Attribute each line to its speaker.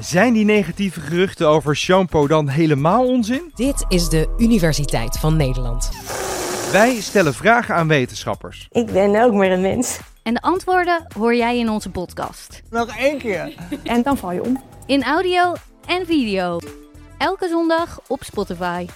Speaker 1: Zijn die negatieve geruchten over shampoo dan helemaal onzin?
Speaker 2: Dit is de Universiteit van Nederland.
Speaker 1: Wij stellen vragen aan wetenschappers.
Speaker 3: Ik ben ook maar een mens.
Speaker 4: En de antwoorden hoor jij in onze podcast.
Speaker 5: Nog één keer.
Speaker 6: En dan val je om.
Speaker 4: In audio en video. Elke zondag op Spotify.